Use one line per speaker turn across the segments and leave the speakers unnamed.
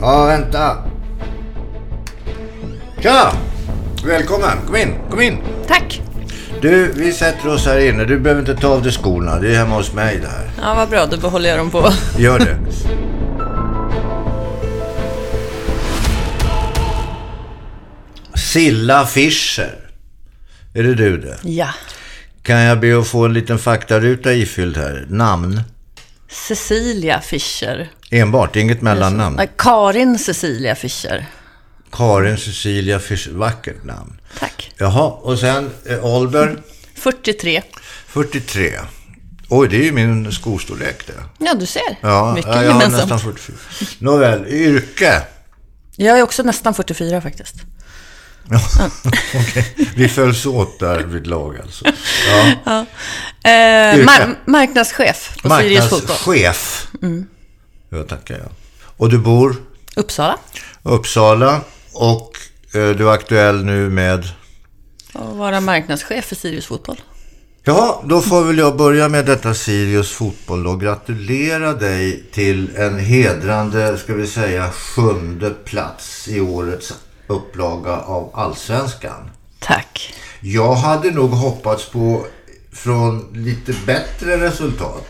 Ja, vänta. Tja! Välkommen! Kom in, kom in!
Tack!
Du, vi sätter oss här inne. Du behöver inte ta av dig skorna. Det är hemma hos mig det här.
Ja, vad bra. Då behåller jag dem på.
Gör det. Silla Fischer. Är det du det?
Ja.
Kan jag be att få en liten faktaruta ifylld här? Namn?
Cecilia Fischer.
Enbart, inget mellannamn.
Mm. Nej, Karin Cecilia Fischer.
Karin Cecilia Fischer, vackert namn.
Tack.
Jaha, och sen eh, ålder?
43.
43. Oj, det är ju min skostorlek det.
Ja, du ser.
Ja,
Mycket
ja, jag har
gemensamt.
nästan 44. Nåväl, yrke.
Jag är också nästan 44 faktiskt.
Vi följs åt där vid lag alltså. Ja.
Eh,
Yrke.
mar- marknadschef på Sirius Fotboll. Mm.
Marknadschef. Ja, tackar jag. Och du bor
Uppsala.
Uppsala och eh, du är aktuell nu med...
Och vara marknadschef för Sirius Fotboll.
Ja, då får väl jag börja med detta Sirius fotboll och gratulera dig till en hedrande, ska vi säga, sjunde plats i årets upplaga av Allsvenskan.
Tack.
Jag hade nog hoppats på från lite bättre resultat.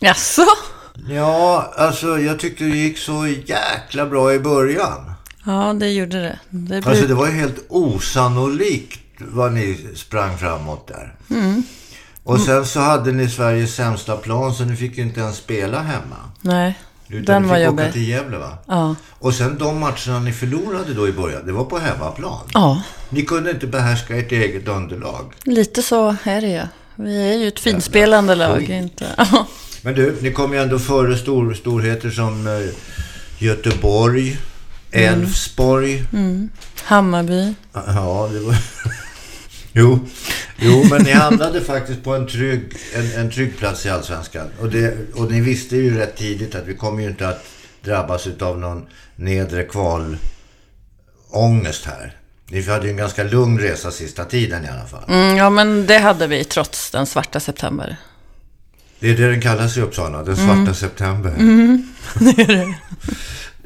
Jaså?
Ja, alltså jag tyckte det gick så jäkla bra i början.
Ja, det gjorde det. det blir...
Alltså det var ju helt osannolikt vad ni sprang framåt där.
Mm.
Och sen så hade ni Sveriges sämsta plan så ni fick ju inte ens spela hemma.
Nej,
Utan
den
ni
var
fick åka
jobbig.
till Gävle va?
Ja.
Och sen de matcherna ni förlorade då i början, det var på hemmaplan.
Ja,
Ni kunde inte behärska ert eget underlag.
lite så är det ju. Vi är ju ett finspelande lag. Inte. Ja.
Men du, ni kom ju ändå före stor, storheter som eh, Göteborg, Elfsborg.
Hammarby.
Ja, det var... Jo. jo, men ni hamnade faktiskt på en trygg, en, en trygg plats i Allsvenskan. Och, det, och ni visste ju rätt tidigt att vi kommer ju inte att drabbas av någon nedre kvalångest här. Ni hade ju en ganska lugn resa sista tiden i alla fall.
Mm, ja, men det hade vi trots den svarta september.
Det är det den kallas i Uppsala, den svarta
Mm.
september.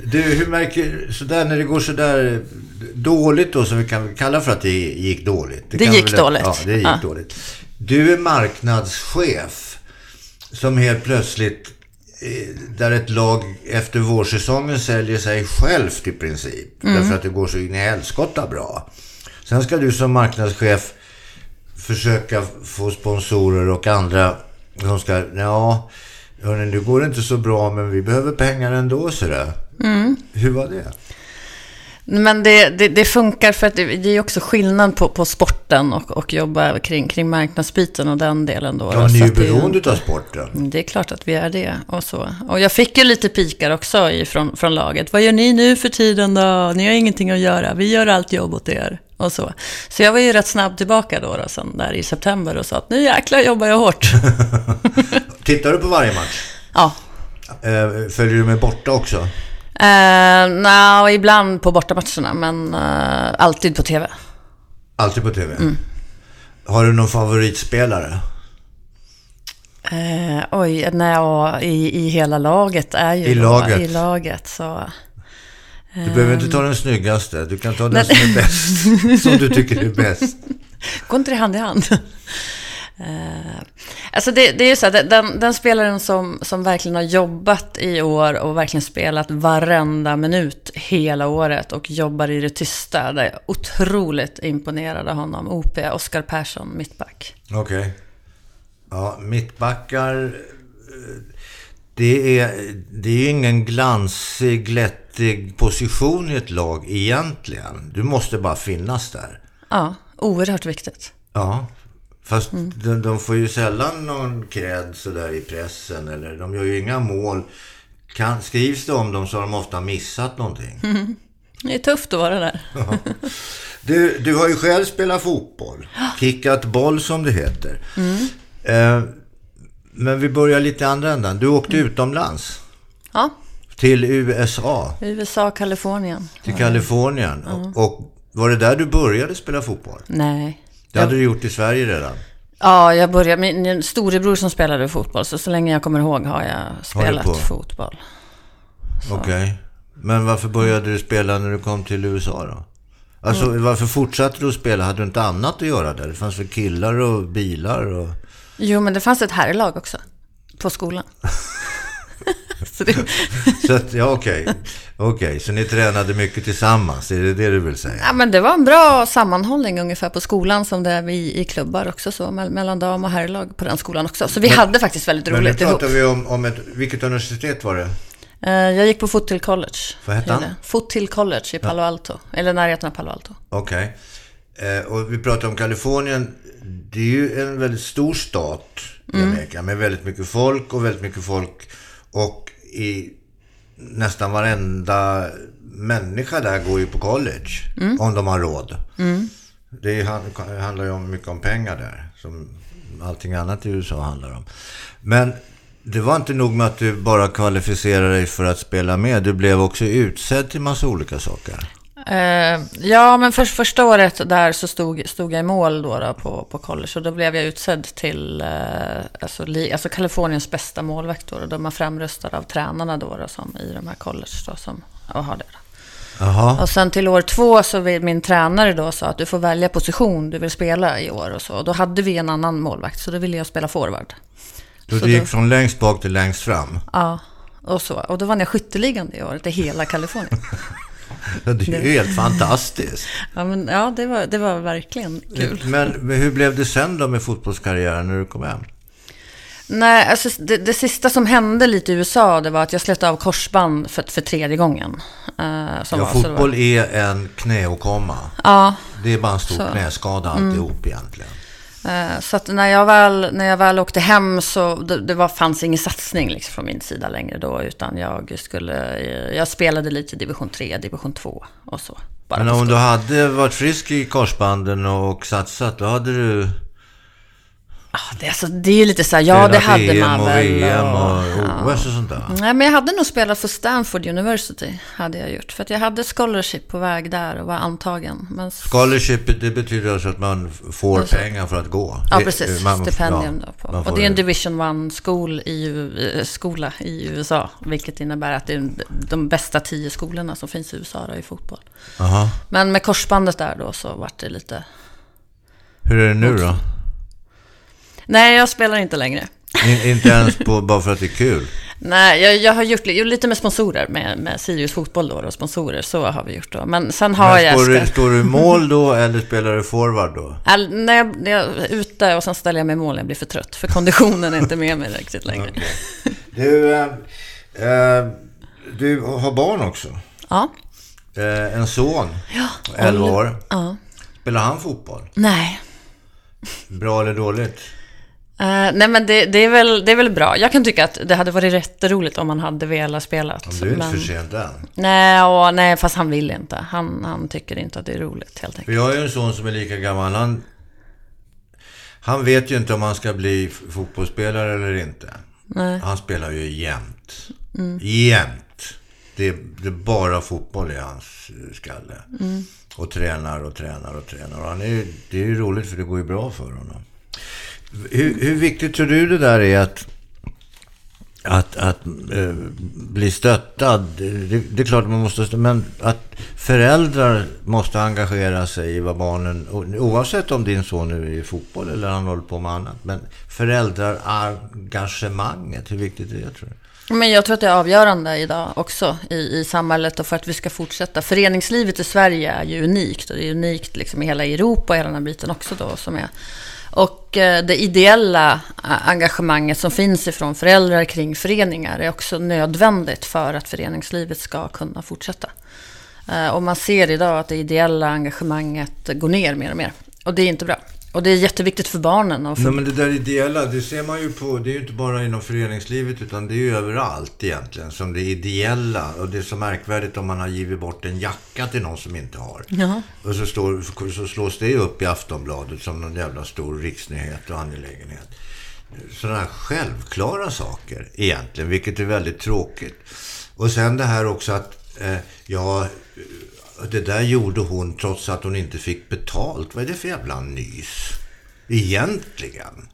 Du, hur märker sådär när det går sådär dåligt då, som vi kan kalla för att det gick dåligt?
Det
kan vi
gick dåligt.
Ja, det gick
Ja.
dåligt. Du är marknadschef som helt plötsligt, eh, där ett lag efter vårsäsongen säljer sig självt i princip,
Mm.
därför att det går så in i helskotta bra. Sen ska du som marknadschef försöka få sponsorer och andra som ska, ja, hörni, nu går det inte så bra men vi behöver pengar ändå sådär. Hur var det?
Men det, det, det funkar för att det, det är också skillnad på, på sporten och, och jobba kring, kring marknadsbiten och den delen då.
Ja,
Så
ni är ju
att det Mm,
beroende av sporten.
Det är klart att vi är det och så. Och jag fick ju lite pikar också i- från, från laget. Vad gör ni nu för tiden då? Ni har ingenting att göra. Vi gör allt jobb åt er. Och så. Så jag var ju rätt snabb tillbaka då, då sen där i september och sa att nu jäklar jobbar jag hårt.
Tittar du på varje match?
ja.
Eh, Följer du med borta också?
Eh, Nja, ibland på bortamatcherna, men eh, alltid på TV.
Alltid på TV? Har du någon favoritspelare?
Eh, oj, nej, och i, i hela laget är ju
I
då-
laget.
I laget så.
Du behöver inte ta den snyggaste. Du kan ta den som är bäst. Som du tycker är bäst.
Går inte det hand i hand? Eh, Alltså det, det är ju så att den, den spelaren som, som verkligen har jobbat i år och verkligen spelat varenda minut hela året och jobbar i det tysta. Där jag är otroligt imponerad av honom. OP, Oskar Persson, mittback.
Okej. Ja, mittbackar... eh, Det är, det är ju ingen glansig, glättig position i ett lag egentligen. Du måste bara finnas där.
Ja, oerhört viktigt.
Ja. Fast de, de får ju sällan någon cred sådär i pressen. Eller de gör ju inga mål. Kan, skrivs det om dem så har de ofta missat någonting.
Det är tufft att vara där.
Du, du har ju själv spelat fotboll. Kickat boll som det heter. Eh, men vi börjar lite andra ändan. Du åkte utomlands.
Ja,
Till USA.
USA, Kalifornien.
Till Kalifornien. Och, och var det där du började spela fotboll?
Nej.
Det hade du gjort i Sverige redan.
Ja, jag började. Min storebror som spelade fotboll, så så länge jag kommer ihåg har jag spelat
på?
fotboll.
Okej. Men varför började du spela när du kom till USA då? Alltså varför fortsatte du att spela? Hade du inte annat att göra där? Det fanns väl killar och bilar och...
Jo, men det fanns ett herrlag också. På skolan. så det,
Så att, ja okej. Okej, så ni tränade mycket tillsammans? Är det det du vill säga?
ja, men det var en bra sammanhållning ungefär på skolan som det är vi i klubbar också. Så, mell- mellan dam och herrlag på den skolan också. Så vi hade faktiskt väldigt
Men nu
roligt ihop.
pratar vi om, om ett... Vilket universitet var det?
Eh, Jag gick på Foothill College.
Vad hette han?
Heter det. Foothill College i Palo Alto. Eller närheten av Palo Alto.
Okej. Eh, och vi pratar om Kalifornien. Det är ju en väldigt stor stat i Amerika med väldigt mycket folk och väldigt mycket folk. Och i nästan varenda människa där går ju på college. Om de har råd. Det är- han- handlar ju om mycket om pengar där. Som allting annat i USA handlar om. Men det var inte nog med att du bara kvalificerade dig för att spela med. Du blev också utsedd till massa olika saker.
Eh, ja, men för, första året där så stod, stod jag i mål då, då på, på college och då blev jag utsedd till eh, alltså, li, alltså Kaliforniens bästa målvakt. Då, då. De var framröstade av tränarna då, då som, i de här college då, som och har det. Då.
Jaha.
Och sen till år två så vill min tränare då sa att du får välja position du vill spela i år och så. Och då hade vi en annan målvakt så då ville jag spela forward.
Så
Så
du gick
då-
från längst bak till längst fram?
Ja, och så. Och då vann jag skytteligan det året i hela Kalifornien.
Ja, Det är ju helt fantastiskt.
Ja, men, ja det, var, det var verkligen kul.
Men hur blev det sen då med fotbollskarriären när du kom hem?
Nej, alltså det, det sista som hände lite i USA det var att jag slet av korsband för, för tredje gången.
Ja,
Eh, som var, så det Var,
fotboll är en knäåkomma.
ja,
Det är bara en stor
Så. Mm.
knäskada alltihop egentligen.
eh, så att när jag väl, när jag väl åkte hem så det, det var, fanns ingen satsning liksom från min sida längre då. Utan jag, skulle, eh, jag spelade lite i division 3, division 2 och så. Bara
Men
på
om
skoj.
du hade varit frisk i korsbanden och satsat, då hade du
Ah, det, alltså, det är ju lite så här, ja det hade
EM
man
och
väl.
VM och,
och-
OS och sånt där.
Nej, men jag hade nog spelat för Stanford University, hade jag gjort. För att jag hade scholarship på väg där och var antagen. Men
Scholarship, det betyder alltså att man får pengar för att gå.
Ja,
Det-
precis.
man-
Stipendium
ja,
då. På.
man
Och
får
det är en
det.
Division 1-skola i, U- eh, skola i USA. Vilket innebär att det är de bästa tio skolorna som finns i USA då, i fotboll.
Aha.
Men med korsbandet där då så vart det lite...
Hur är det nu då?
Nej, jag spelar inte längre.
In, inte ens på, bara för att det är kul?
Nej, jag, jag har gjort li- lite med sponsorer, med, med Sirius fotboll då, och sponsorer, så har vi gjort då. Men sen har
Men
jag...
står, du,
ska-
står du i mål då eller spelar du forward då?
All, när, jag, när jag är ute och sen ställer jag mig i mål när jag blir för trött. För konditionen är inte med mig riktigt längre.
Du, eh, eh, du har barn också.
Ja.
Eh, en son, 11 år.
ja.
Spelar han fotboll?
Nej.
Bra eller dåligt?
Eh, nej men det, det, är väl, det är väl bra. Jag kan tycka att det hade varit jätteroligt om han hade velat spela.
Du är inte
men,
för sent än.
nej, och, nej, fast han vill inte. Han, han tycker inte att det är roligt helt enkelt.
För jag har ju en son som är lika gammal. Han, han vet ju inte om han ska bli f- fotbollsspelare eller inte. Han spelar ju jämt.
Mm.
Jämt. Det, det är bara fotboll i hans eh, skalle.
Mm.
Och tränar och tränar och tränar. Och han är, ju- det är ju roligt för det går ju bra för honom. Hur, hur viktigt tror du det där är att att, att eh, bli stöttad, det, det är klart man måste, stö- men att föräldrar måste engagera sig i vad barnen, o- oavsett om din son nu är i fotboll eller han håller på med annat, men föräldrarengagemanget, hur viktigt är det tror du?
Men jag tror att det är avgörande idag också i, i samhället och för att vi ska fortsätta. Föreningslivet i Sverige är ju unikt och det är unikt liksom i hela Europa och hela den här biten också då som är. Och eh, det ideella eh, engagemanget som finns ifrån föräldrar kring föreningar är också nödvändigt för att föreningslivet ska kunna fortsätta. Eh, Och man ser idag att det ideella engagemanget går ner mer och mer. Och det är inte bra. Och det är jätteviktigt för barnen och för
Nej men det där ideella, det ser man ju på, det är ju inte bara inom föreningslivet utan det är ju överallt egentligen som det ideella. Och det är så märkvärdigt om man har givit bort en jacka till någon som inte har. Och så, står, så slås det ju upp i Aftonbladet som någon jävla stor riksnyhet och angelägenhet. Sådana här självklara saker egentligen, vilket är väldigt tråkigt. Och sen det här också att, eh, ja, det där gjorde hon trots att hon inte fick betalt. Vad är det för jävla nys? Egentligen.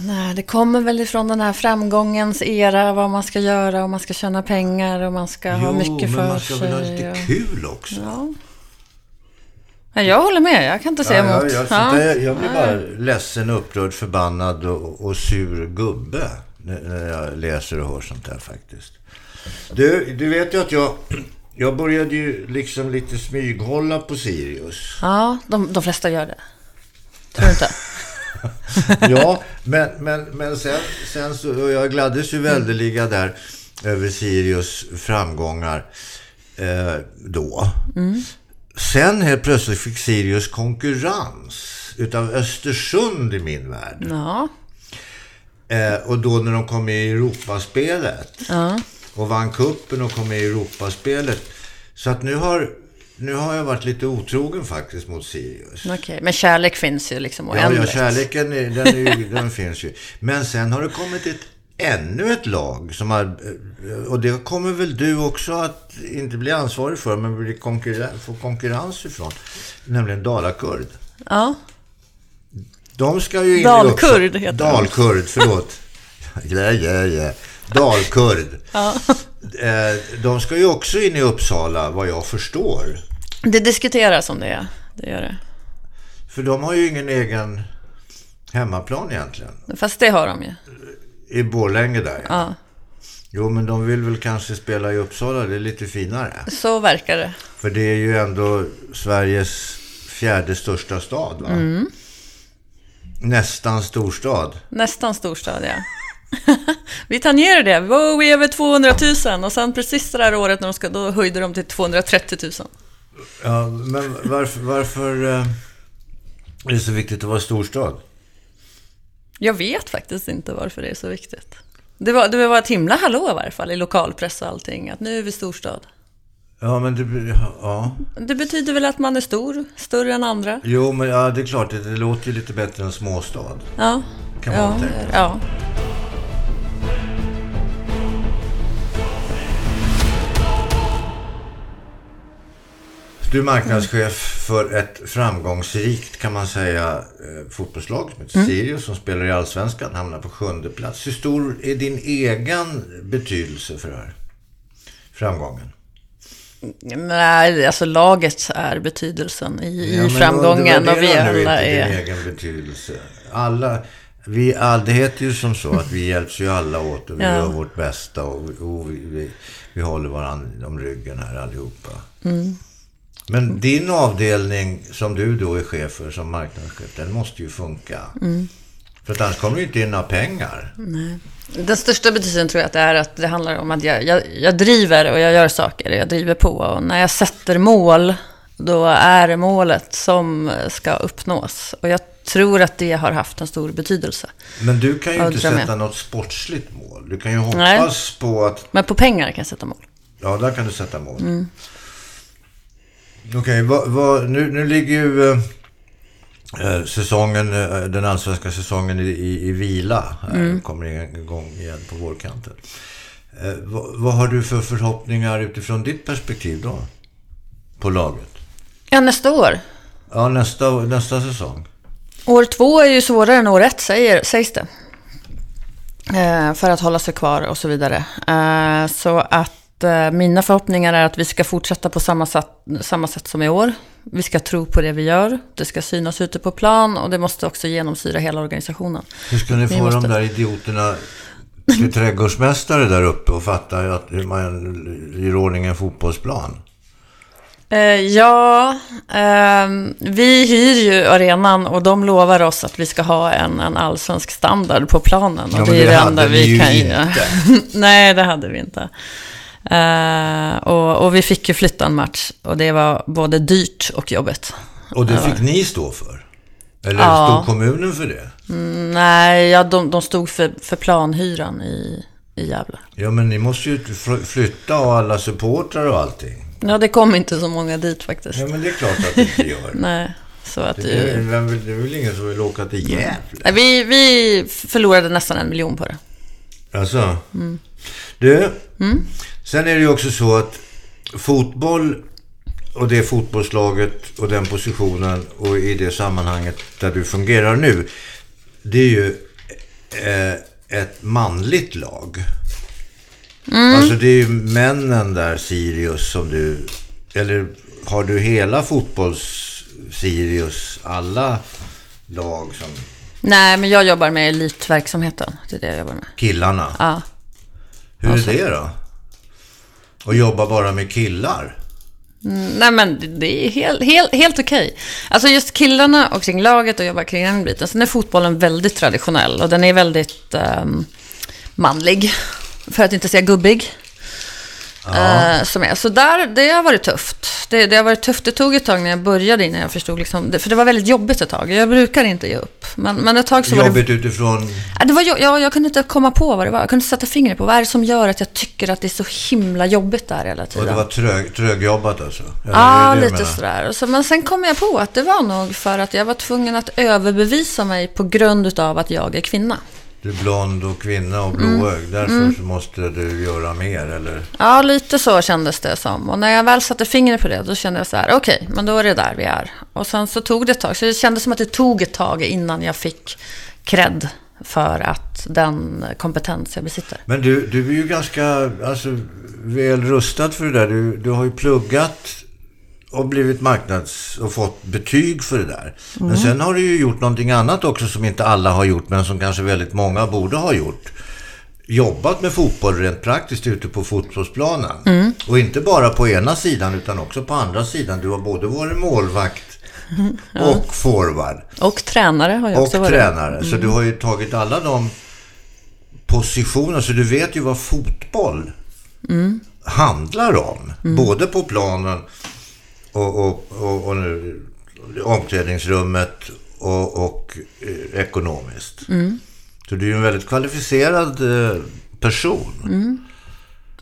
Nej, det kommer väl ifrån den här framgångens era, vad man ska göra och man ska tjäna pengar och man ska ha
jo,
mycket
men
för
man ska
sig.
väl ha lite
och...
kul också.
ja. Nej, jag håller med, jag kan inte säga
Ja,
emot.
jag,
Ja.
jag, jag blir bara ledsen, upprörd, förbannad och, och sur gubbe när när jag läser och hör sånt här faktiskt. Du, du vet ju att jag, jag började ju liksom lite smyghålla på Sirius.
Ja, de, de flesta gör det. Tror du inte?
Ja, men, men, men sen, sen så, och jag gladdes ju väldeliga där över Sirius framgångar eh, då.
Mm.
Sen helt plötsligt fick Sirius konkurrens utav Östersund i min värld.
Ja.
Eh, och då när de kom med i Europaspelet och vann kuppen och kom med i Europaspelet. Så att nu har, nu har jag varit lite otrogen faktiskt mot Sirius.
Okej, men kärlek finns ju liksom
Ja, ja,
oändligt.
kärleken är, den, är ju, den finns ju. Men sen har det kommit ett, ännu ett lag som har, och det kommer väl du också att inte bli ansvarig för, men bli konkurren, få konkurrens ifrån. Nämligen Dalakurd.
Ja.
De ska ju in i
Dalkurd
Uppsala-
heter de.
Dalkurd, förlåt. ja, ja, ja. Dalkurd. Eh, De ska ju också in i Uppsala, vad jag förstår.
Det diskuteras om det, ja. det gör det.
För de har ju ingen egen hemmaplan egentligen.
Fast det har de ju.
I Borlänge där.
Ja.
Jo, men de vill väl kanske spela i Uppsala, det är lite finare.
Så verkar det.
För det är ju ändå Sveriges fjärde största stad, va?
Mm.
Nästan storstad.
Nästan storstad, ja. Vi tangerar det. Wow, vi är över 200 000 och sen precis det där året när de ska, då höjde de till 230 000.
Ja, men varför, varför eh, är det så viktigt att vara storstad?
Jag vet faktiskt inte varför det är så viktigt. Det var, det var ett himla hallå i varje fall i lokalpress och allting, att nu är vi storstad.
Ja, men det... Ja.
Det betyder väl att man är stor, större än andra?
Jo, men ja, det är klart, det, det låter ju lite bättre än småstad.
Ja.
Kan man
ja,
tänka sig.
ja.
Du är marknadschef för ett framgångsrikt, kan man säga, eh, fotbollslag som heter Sirius som spelar i Allsvenskan, hamnar på sjunde plats. Hur stor är din egen betydelse för det här? Framgången?
Nej, alltså laget är betydelsen i,
Ja,
i
men
framgången och vi
undervärdera nu
alla
inte din
är...
egen betydelse. Alla, vi, all, det heter ju som så att vi hjälps ju alla åt och vi
Ja.
gör vårt bästa och, och vi, vi, vi håller varandra om ryggen här allihopa.
Mm.
Men din avdelning som du då är chef för som marknadschef, den måste ju funka.
Mm.
För att annars kommer det ju inte in några pengar.
Den största betydelsen tror jag att det är att det handlar om att jag, jag, jag driver och jag gör saker, jag driver på. Och när jag sätter mål, då är det målet som ska uppnås. Och jag tror att det har haft en stor betydelse.
Men du kan ju
Ja,
inte
det tror jag
sätta något sportsligt mål. Du kan ju hoppas
Nej.
på att
Men på pengar kan jag sätta mål.
Ja, där kan du sätta mål. Mm. Okej, vad, vad, nu, nu ligger ju eh, eh, säsongen, eh, den allsvenska säsongen i, i, i vila. Här.
Mm.
Kommer igång igen på vårkanten. Eh, vad, vad har du för förhoppningar utifrån ditt perspektiv då? På laget?
Ja, nästa år.
Ja, nästa, nästa säsong.
År två är ju svårare än år ett, säger, sägs det. Eh, för att hålla sig kvar och så vidare. Eh, så att eh, mina förhoppningar är att vi ska fortsätta på samma sätt, samma sätt som i år. Vi ska tro på det vi gör. Det ska synas ute på plan och det måste också genomsyra hela organisationen.
Hur ska ni
Vi
få de
måste-
där idioterna till trädgårdsmästare där uppe och fatta att hur man gör i ordning en fotbollsplan?
Eh, ja, ehm, vi hyr ju arenan och de lovar oss att vi ska ha en, en allsvensk standard på planen. Och
Ja, men
det är
det
det
hade
enda
vi ju
vi kan
inte.
göra. Nej, det hade vi inte. Eh, och, och vi fick ju flytta en match och det var både dyrt och jobbigt.
Och det fick ni stå för? Eller
Ja.
stod kommunen för det?
Nej, ja, de, de stod för, för planhyran i, i Gävle.
Ja, men ni måste ju fr- flytta och alla supportrar och allting.
Ja, det kom inte så många dit faktiskt.
Ja, men det är klart att det inte gör.
Nej, så att...
Det är, vem vill, det är väl ingen som vill åka till Gävle?
Nej, vi, vi förlorade nästan en miljon på det.
Alltså. Du, sen är det ju också så att fotboll och det fotbollslaget och den positionen och i det sammanhanget där du fungerar nu, det är ju eh, ett manligt lag. Alltså det är ju männen där, Sirius, som du... Eller har du hela fotbolls-Sirius, alla lag som
Nej, men jag jobbar med elitverksamheten. Det är det jag jobbar med.
killarna?
Ja.
Hur
Alltså-
är det då? Och jobba bara med killar?
Nej men det- det är helt, helt, helt okej. Alltså just killarna och kring laget och jobba kring den biten. Sen är fotbollen väldigt traditionell och den är väldigt ehm, manlig. För att inte säga gubbig. Eh, som är. Så där, det har varit tufft. Det, det har varit tufft. Det tog ett tag när jag började innan jag förstod. Liksom, det, för det var väldigt jobbigt ett tag. Jag brukar inte ge upp. Men, men ett tag så var det
Jobbigt utifrån...
Ja, Det var, jag, jag, jag kunde inte komma på vad det var. Jag kunde inte sätta fingret på vad är det som gör att jag tycker att det är så himla jobbigt där hela
Och
tiden.
det var trög, trögjobbat alltså? Eller
Ja,
är det det du
lite
menar?
sådär. Och Så, men sen kom jag på att det var nog för att jag var tvungen att överbevisa mig på grund utav att jag är kvinna.
Du är blond och kvinna och
Mm.
blåögd. Därför så måste du göra mer, eller?
Ja, lite så kändes det som. Och när jag väl satte fingret på det, då kände jag så här: okej, men då är det där vi är. Och sen så tog det ett tag. Så det kändes som att det tog ett tag innan jag fick cred för att den kompetens jag besitter.
Men du, du är ju ganska alltså, väl rustad för det där. Du, du har ju pluggat och blivit marknads och fått betyg för det där. Men sen har du ju gjort någonting annat också som inte alla har gjort, men som kanske väldigt många borde ha gjort. Jobbat med fotboll rent praktiskt ute på fotbollsplanen. Och inte bara på ena sidan utan också på andra sidan. Du har både varit målvakt och forward.
Och tränare har jag
Och
också Mm. varit.
tränare. Så du har ju tagit alla de positionerna. Så du vet ju vad fotboll
Mm.
handlar om. Både på planen och, och, och, och nu, omklädningsrummet och, och eh, ekonomiskt.
Mm.
Så du är ju en väldigt kvalificerad eh, person.
Mm,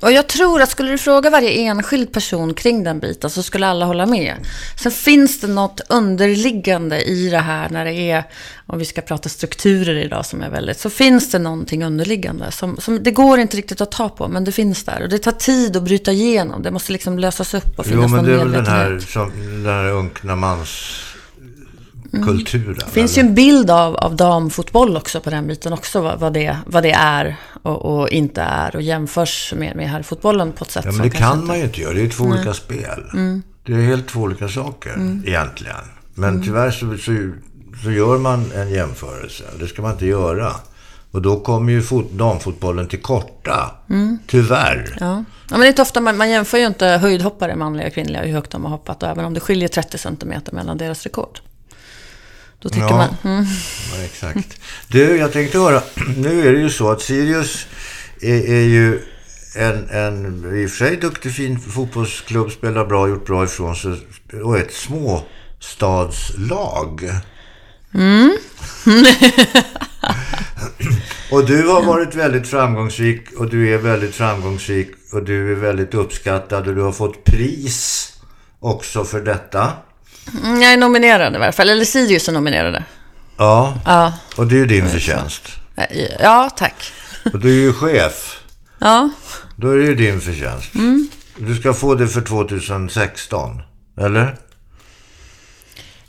Och jag tror att skulle du fråga varje enskild person kring den biten så skulle alla hålla med. Sen finns det något underliggande i det här när det är, om vi ska prata strukturer idag som är väldigt, så finns det någonting underliggande som, som det går inte riktigt att ta på, men det finns där. Och det tar tid att bryta igenom, det måste liksom lösas upp och finnas
Jo, men
någon
det är väl den
medvetenhet.
här, som, den här unkna mans kulturen.
Det Mm. finns ju en bild av, av damfotboll också på den biten också, vad, vad, det, vad det är och, och inte är och jämförs med, med herrfotbollen på ett sätt
Ja, men
som
det
kanske Mm.
kan man ju inte göra. Det är ju två olika spel. Det är helt två olika saker egentligen. Men tyvärr så, så, så gör man en jämförelse. Det ska man inte göra. Och då kommer ju fot, damfotbollen till korta.
Mm.
Tyvärr.
Ja. ja, men det är inte ofta man, man jämför ju inte höjdhoppare, manliga och kvinnliga, hur högt de har hoppat. Och även om det skiljer 30 centimeter mellan deras rekord. Då tycker
Ja.
man... Mm.
Ja, exakt. Du, jag tänkte höra. Nu är det ju så att Sirius är, är ju en, en i och för sig duktig, fin fotbollsklubb. Spelar bra, gjort bra ifrån sig. Och ett småstadslag.
Mm.
och du har varit väldigt framgångsrik och du är väldigt framgångsrik och du är väldigt uppskattad och du har fått pris också för detta.
Mm, Jag är nominerad i varje fall. Eller Sirius är nominerade.
Ja,
Ja,
och det är ju din förtjänst.
Eh, ja tack.
Och du är ju chef.
Ja.
Då är det ju din förtjänst. Du ska få det för 2016. Eller?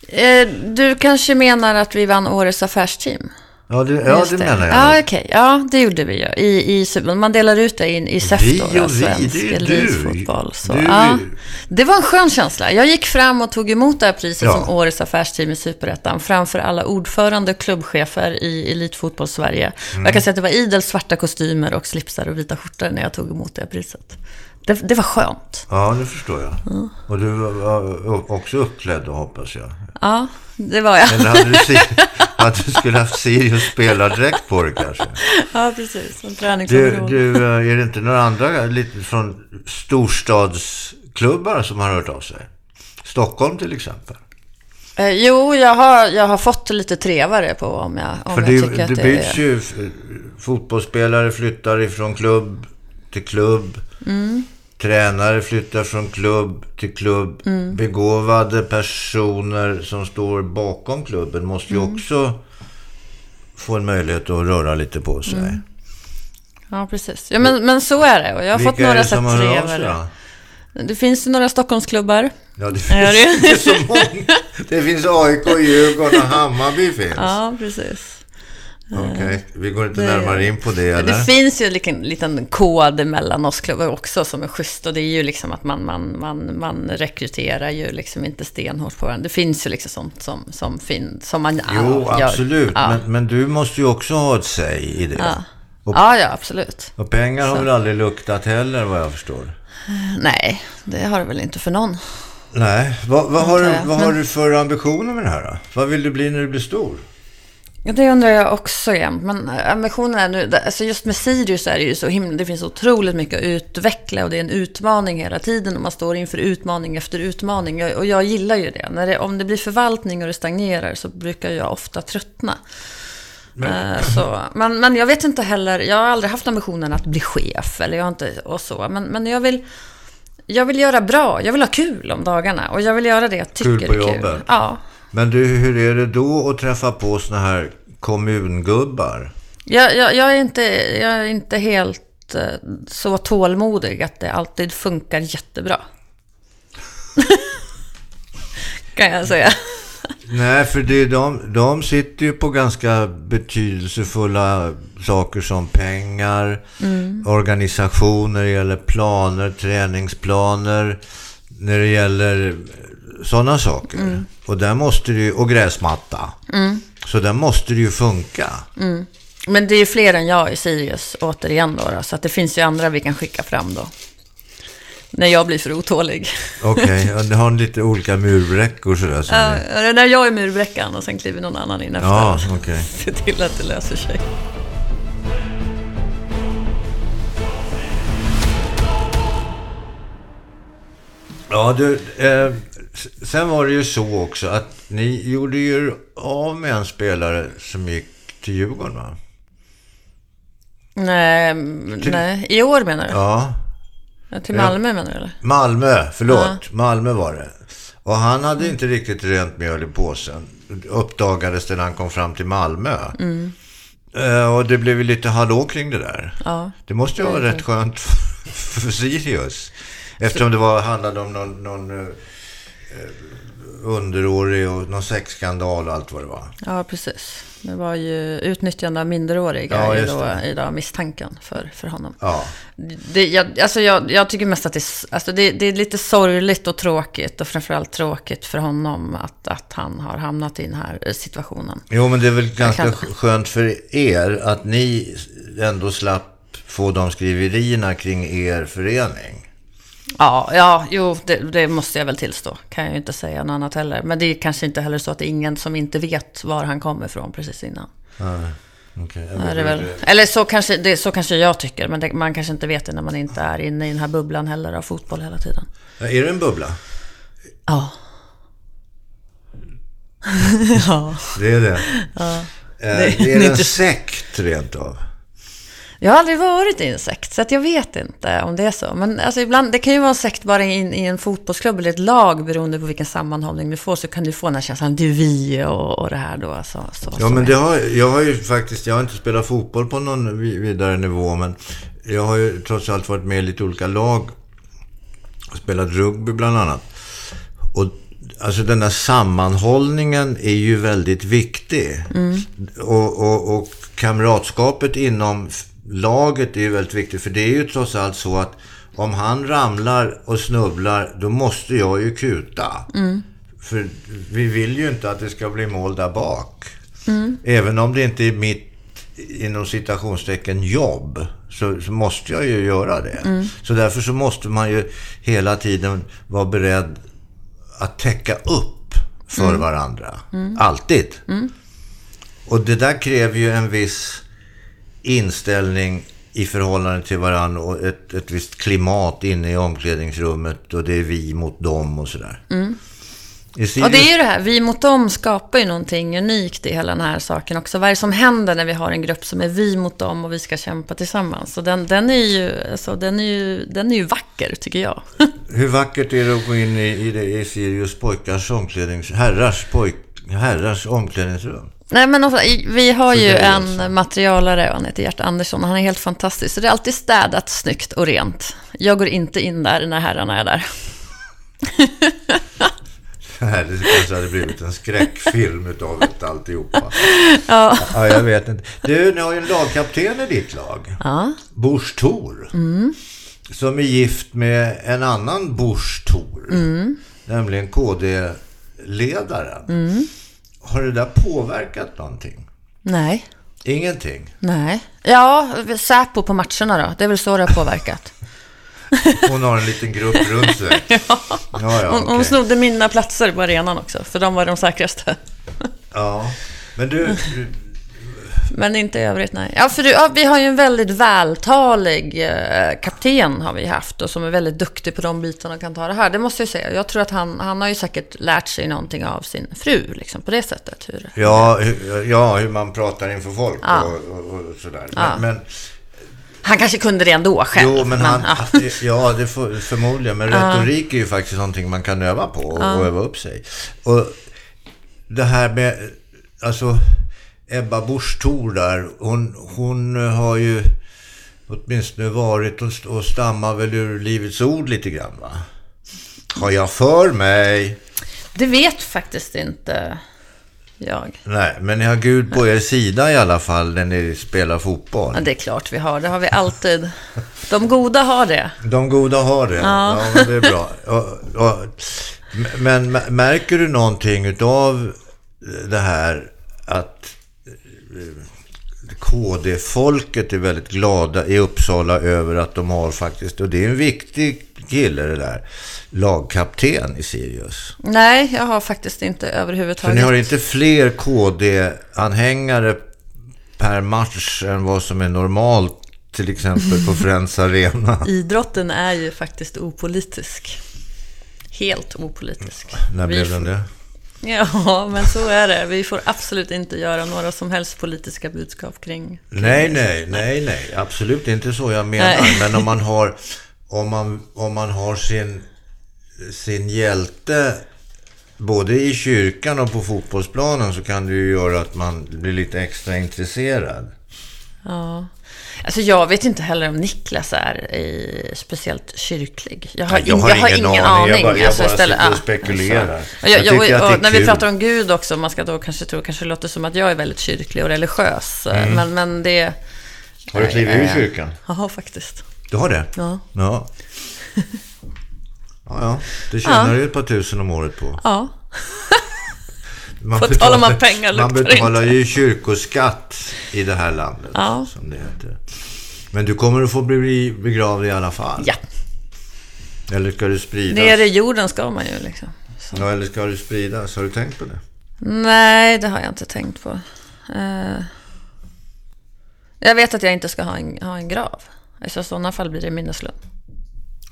Eh, Du kanske menar att vi vann Årets affärsteam?
Ja, det, ja,
Just
det menar jag.
Ja, okej. Ja, det gjorde vi ju. I, i, Super- man delar ut det in i
Vi
SEF
och
då,
vi, det är ju
svensk
du.
elitfotboll. Så,
Du-
ja. Det var en skön känsla. Jag gick fram och tog emot det här priset
Ja.
som Årets affärsteam i Superettan framför alla ordförande och klubbchefer i Elitfotboll-Sverige. Jag
Mm.
kan säga att det var idel svarta kostymer och slipsar och vita skjortor när jag tog emot det här priset. Det, det var skönt.
Ja, det förstår jag. Och du var var också uppklädd då, hoppas jag.
Ja, det var jag.
Eller hade du, si- att du skulle haft Sirius spelardräkt på dig kanske?
Ja, precis. En
Du,
träningsområde.
du, eh, är det inte några andra lite från storstadsklubbar som har hört av sig? Stockholm till exempel.
Eh, jo, jag har, jag har fått lite trevare på om jag, om
För
jag
det,
tycker
det,
att det är...
byts ju, f- fotbollsspelare flyttar ifrån klubb till klubb.
Mm.
Tränare flyttar från klubb till klubb.
Mm.
Begåvade personer som står bakom klubben måste ju
Mm.
också få en möjlighet att röra lite på sig.
Ja, precis. Ja, men, men så är det. Och Mm. jag har fått
Vilka är
några
det som
sätt
hör av sig
trevare.
då?
Det finns ju några Stockholmsklubbar.
Ja, det
Ja, det-
finns det så många. Det finns AIK, Djurgården och Hammarby finns.
Ja, precis.
Okej, vi går inte
det-
närmare in på det
Men
eller?
Det finns ju en liten, liten kod mellan oss klubbar också som är schysst och det är ju liksom att man, man, man, man rekryterar ju liksom inte stenhårt på varandra. Det finns ju liksom sånt som, som, fin, som man
Jo,
gör.
absolut.
Ja.
Men, men du måste ju också ha ett säg i det. Och,
ja, ja, absolut.
och pengar har väl aldrig luktat heller vad jag förstår?
Nej, det har det väl inte för någon.
Nej, vad, vad, har,
Antar
du,
jag.
vad
Men-
har du för ambitioner med det här då? Vad vill du bli när du blir stor?
Ja, det undrar jag också jämt. Men eh, ambitionen är nu, alltså just med Sirius är det ju så himla, det finns otroligt mycket att utveckla och det är en utmaning hela tiden och man står inför utmaning efter utmaning. Jag- Och jag gillar ju det. När det om det blir förvaltning och det stagnerar så brukar jag ofta tröttna. Eh, Så, men, men jag vet inte heller, jag har aldrig haft ambitionen att bli chef eller jag har inte, och så. Men, men jag vill jag vill göra bra, jag vill ha kul om dagarna och jag vill göra det jag tycker
Kul på
är kul.
jobbet.
Ja,
Men du, hur är det då att träffa på såna här kommungubbar?
Jag, jag, jag, är inte, jag är inte helt eh, så tålmodig att det alltid funkar jättebra. kan jag säga.
Nej, för det är de, de sitter ju på ganska betydelsefulla saker som pengar, organisationer, när det gäller planer, träningsplaner, när det gäller sådana saker. Och, där måste det ju, och gräsmatta. Så där måste det ju funka.
Men det är ju fler än jag i Sirius, återigen då, då så att det finns ju andra vi kan skicka fram då. När jag blir för otålig.
Okej, och det har en lite olika murbräckor sådär. Som
Ja,
ni-
det är när jag är murbräckan och sen kliver någon annan in efter.
ja, okej.
Se till att det löser sig.
Ja, du, eh, s- sen var det ju så också att ni gjorde ju av med en spelare som gick till Djurgården, va?
Nej, nej, i år menar du?
Ja,
Ja. Till Malmö menar du eller?
Malmö, förlåt. Malmö var det. Och han hade inte riktigt rent mjöl i påsen. Uppdagades det när han kom fram till Malmö. Eh, och det blev ju lite hallå kring det där.
Ja.
Det måste ju vara rätt skönt för, för Sirius. Eftersom det var, handlade om någon, någon eh, eh, underårig och någon sexskandal och allt vad det var.
Ja, precis. Det var ju utnyttjande av minderåriga
Ja,
är
just
då,
det.
är då misstanken för, för honom.
Ja.
Det, jag, alltså jag, jag tycker mest att det, är s- alltså det, det är lite sorgligt och tråkigt och framförallt tråkigt för honom att, att han har hamnat i den här eh, situationen.
Jo, men det är väl ganska
kan-
skönt för er att ni ändå slapp få de skriverierna kring er förening.
Ja, ja jo, det, det måste jag väl tillstå. Kan jag ju inte säga något annat heller. Men det är kanske inte heller så att det är ingen som inte vet var han kommer ifrån precis innan.
Okej,
Är det
Mm.
väl? Eller så kanske, det, så kanske jag tycker, men det, man kanske inte vet det när man inte är inne i den här bubblan heller av fotboll hela tiden.
Ja, Är det en bubbla?
Ja. ja.
Det är det. Eh,
Det-
det är
det är
en
inte-
sekt rent av.
Jag har aldrig varit i en sekt, så att jag vet inte om det är så. Men alltså ibland, det kan ju vara en sekt bara in, i en fotbollsklubb eller ett lag, beroende på vilken sammanhållning du får, så kan du få den här känslan, det är vi och, och det här då. Så, så,
Ja,
så.
men det har, jag har ju faktiskt, jag har inte spelat fotboll på någon vi- vidare nivå, men jag har ju trots allt varit med i lite olika lag. Spelat rugby bland annat. Och alltså den där sammanhållningen är ju väldigt viktig. Och, och, och kamratskapet inom f- laget är ju väldigt viktigt, för det är ju trots allt så att om han ramlar och snubblar, då måste jag ju kuta. För vi vill ju inte att det ska bli mål där bak. Även om det inte är mitt, inom citationstecken, jobb, så, så måste jag ju göra det. Så därför så måste man ju hela tiden vara beredd att täcka upp för
Mm.
varandra. Alltid. Och det där kräver ju en viss inställning i förhållande till varandra och ett, ett visst klimat inne i omklädningsrummet och det är vi mot dem och sådär. I Sirius-
Och Mm. det är ju det här, vi mot dem skapar ju någonting unikt i hela den här saken också. Vad är det som händer när vi har en grupp som är vi mot dem och vi ska kämpa tillsammans? Så den, den, är, ju, alltså, den, är, ju, den är ju vacker, tycker jag.
Hur vackert är det att gå in i, i, det, i Sirius pojkars omklädnings... Herrars, pojk, herrars omklädningsrum?
Nej, men ofta, i- vi har ju
det är
en materialare, han heter Gert Andersson, och han är helt fantastisk. Så det är alltid städat, snyggt och rent. Jag går inte in där när herrarna är där.
här. Det kanske hade blivit en skräckfilm utav ett alltihopa.
Ja.
Ja, jag vet inte. Du, ni har ju en lagkapten i ditt lag.
Ja. Mm.
Busch Thor. Som är gift med en annan Busch Thor.
Mm.
Nämligen KD-ledaren.
Mm.
Har det där påverkat någonting?
Nej.
Ingenting.
Nej. Ja, Säpo på matcherna då. Det är väl så det har påverkat.
Hon har en liten grupp runt sig. ja, ja,
Hon, hon
okej.
snodde mina platser på arenan också, för de var de säkraste.
ja. Men du,
Men inte i övrigt, nej. Ja, för du, ja, vi har ju en väldigt vältalig eh, kapten har vi haft och som är väldigt duktig på de bitarna och kan ta det här. Det måste jag säga. Jag tror att han, han har ju säkert lärt sig någonting av sin fru, liksom på det sättet. Hur...
ja, hur- ja, hur man pratar inför folk och, och, och sådär. Men, men,
Han kanske kunde det ändå själv.
jo, men han,
ja.
ja, det får, förmodligen. Men retorik är ju faktiskt någonting man kan öva på och, och öva upp sig. Och det här med, alltså Ebba Busch Thor där, hon, hon har ju åtminstone varit och, och stammar väl ur Livets Ord lite grann va? Har jag för mig?
Det vet faktiskt inte jag.
Nej, men ni har Gud på er sida i alla fall när ni spelar fotboll.
Men det är klart vi har, det har vi alltid. De goda har det.
De goda har det. Ja, men det är bra. Och, och, men m- märker du någonting utav det här att eh, KD-folket är väldigt glada i Uppsala över att de har faktiskt, och det är en viktig kille det där, lagkapten i Sirius.
Nej, jag har faktiskt inte
Så
överhuvudtaget.
ni har inte fler KD-anhängare per match än vad som är normalt, till exempel på Friends Arena?
Idrotten är ju faktiskt opolitisk. Helt opolitisk.
När
Vi
blev den det?
Ja, men så är det. Vi får absolut inte göra några som helst politiska budskap kring...
Nej, nej, nej, nej. Absolut inte så jag menar.
Nej.
Men om man har, om man, om man har sin, sin hjälte både i kyrkan och på fotbollsplanen så kan det ju göra att man blir lite extra intresserad.
Ja. Alltså jag vet inte heller om Niklas är i speciellt kyrklig. Jag har,
Nej, jag
in-
har ingen aning. Jag bara- jag bara sitter och
ja,
spekulerar.
alltså.
Jag
Och Jag, jag,
tycker att det är
och när
kul.
vi pratar om Gud också, man ska då kanske tro, kanske låter som att jag är väldigt kyrklig och religiös. eh,
Mm.
Men, men det...
Har du klivit ur kyrkan?
Jaha, faktiskt.
Du har det?
Ja.
Ja, ja. ja. Det tjänar du ju ett par tusen om året på.
Ja.
Man
På tal om att pengar
man
luktar
betalar ju kyrkoskatt i det här landet.
Ja.
Som det heter. Men du kommer att få bli begravd i alla fall.
ja.
Eller ska du spridas?
Ner i jorden ska man ju liksom. Så.
Ja, eller ska du spridas? Har du tänkt på det?
Nej, det har jag inte tänkt på. Eh, jag vet att jag inte ska ha en, ha en grav. Alltså, I sådana fall blir det minneslund.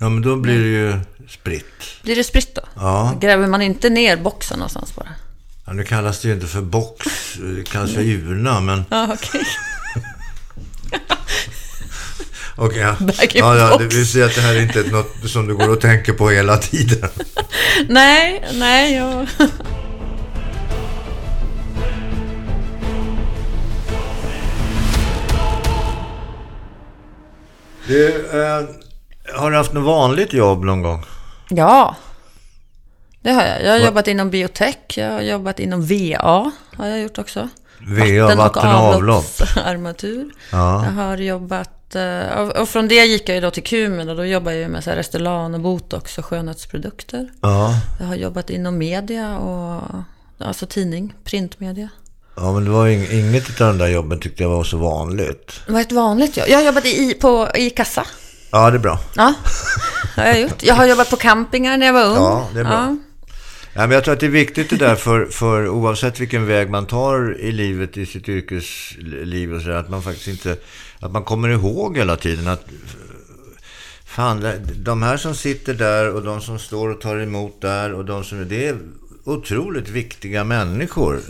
Ja, men då blir det ju spritt.
Blir det spritt då?
Ja.
Gräver man inte ner boxen någonstans bara?
ja, nu kallas det ju inte för box, det kallas för urna, men...
Ja, okej.
Okej, ja.
Bag in
ja, ja,
box.
det vill säga att det här är inte något som du går och tänker på hela tiden.
nej, nej, jag...
Du, eh, har du haft något vanligt jobb någon gång?
Ja, det har jag. Jag har jobbat inom biotech, jag har jobbat inom VA, har jag gjort också.
VA, vatten och avlopp.
avloppsarmatur.
Ja.
Jag har jobbat, eh, och- och från det gick jag ju då till Kumen och då jobbar jag ju med så här Restylane och Botox och skönhetsprodukter.
Ja.
Jag har jobbat inom media och alltså tidning, printmedia.
Ja, men det var ing- inget utav de där jobben tyckte jag var så vanligt.
Vad är ett vanligt jobb? Jag har jobbat i, på, i kassa.
Ja, det är bra.
Ja, har jag gjort. Jag har jobbat på campingar när jag var ung.
Ja, det är bra. Ja, men jag tror att det är viktigt det där för, för oavsett vilken väg man tar i livet, i sitt yrkesliv och sådär, att man faktiskt inte, att man kommer ihåg hela tiden att fan, de här som sitter där och de som står och tar emot där och de som, det är otroligt viktiga människor.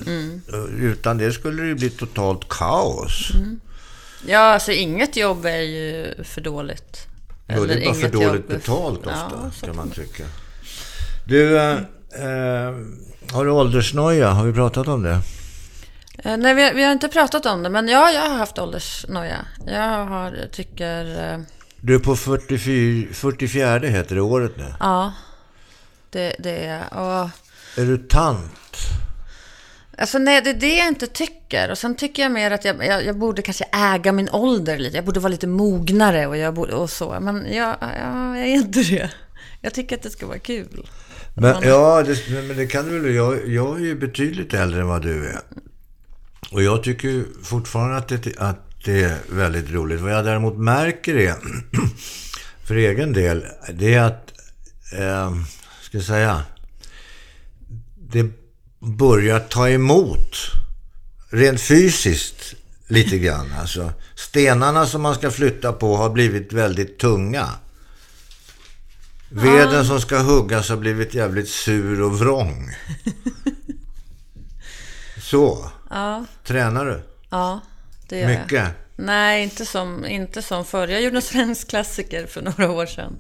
Utan det skulle det ju bli totalt kaos.
Ja, alltså inget jobb är ju för dåligt.
Ja, det är bara för
inget
dåligt
jobb är-
betalt
Ja,
ofta,
så
kan
kan
man tycka. Du, eh, eh, har du åldersnoja? Har vi pratat om det?
Eh, Nej, vi, vi har inte pratat om det, men ja, jag har haft åldersnoja. Jag har, tycker... eh,
Du är på 44, 44 heter det året nu.
Ja, det, det är... Och
Är du tant?
Alltså nej, det är det jag inte tycker. Och sen tycker jag mer att jag, jag, jag borde kanske äga min ålder lite. Jag borde vara lite mognare och, jag borde, och så. Men jag, jag, jag är inte det. Jag tycker att det ska vara kul.
Men, ja, det, men det kan du väl. Jag, jag är ju betydligt äldre än vad du är. Och jag tycker ju fortfarande att det, att det är väldigt roligt. Vad jag däremot märker är, för egen del, det är att, eh, ska jag säga, det börjar ta emot, rent fysiskt, lite grann. Alltså, stenarna som man ska flytta på har blivit väldigt tunga. Veden som ska huggas har blivit jävligt sur och vrång. Så.
Ja,
Tränar du?
ja det gör jag.
Mycket?
Nej, inte som, inte som förr. Jag gjorde en svensk klassiker för några år sedan.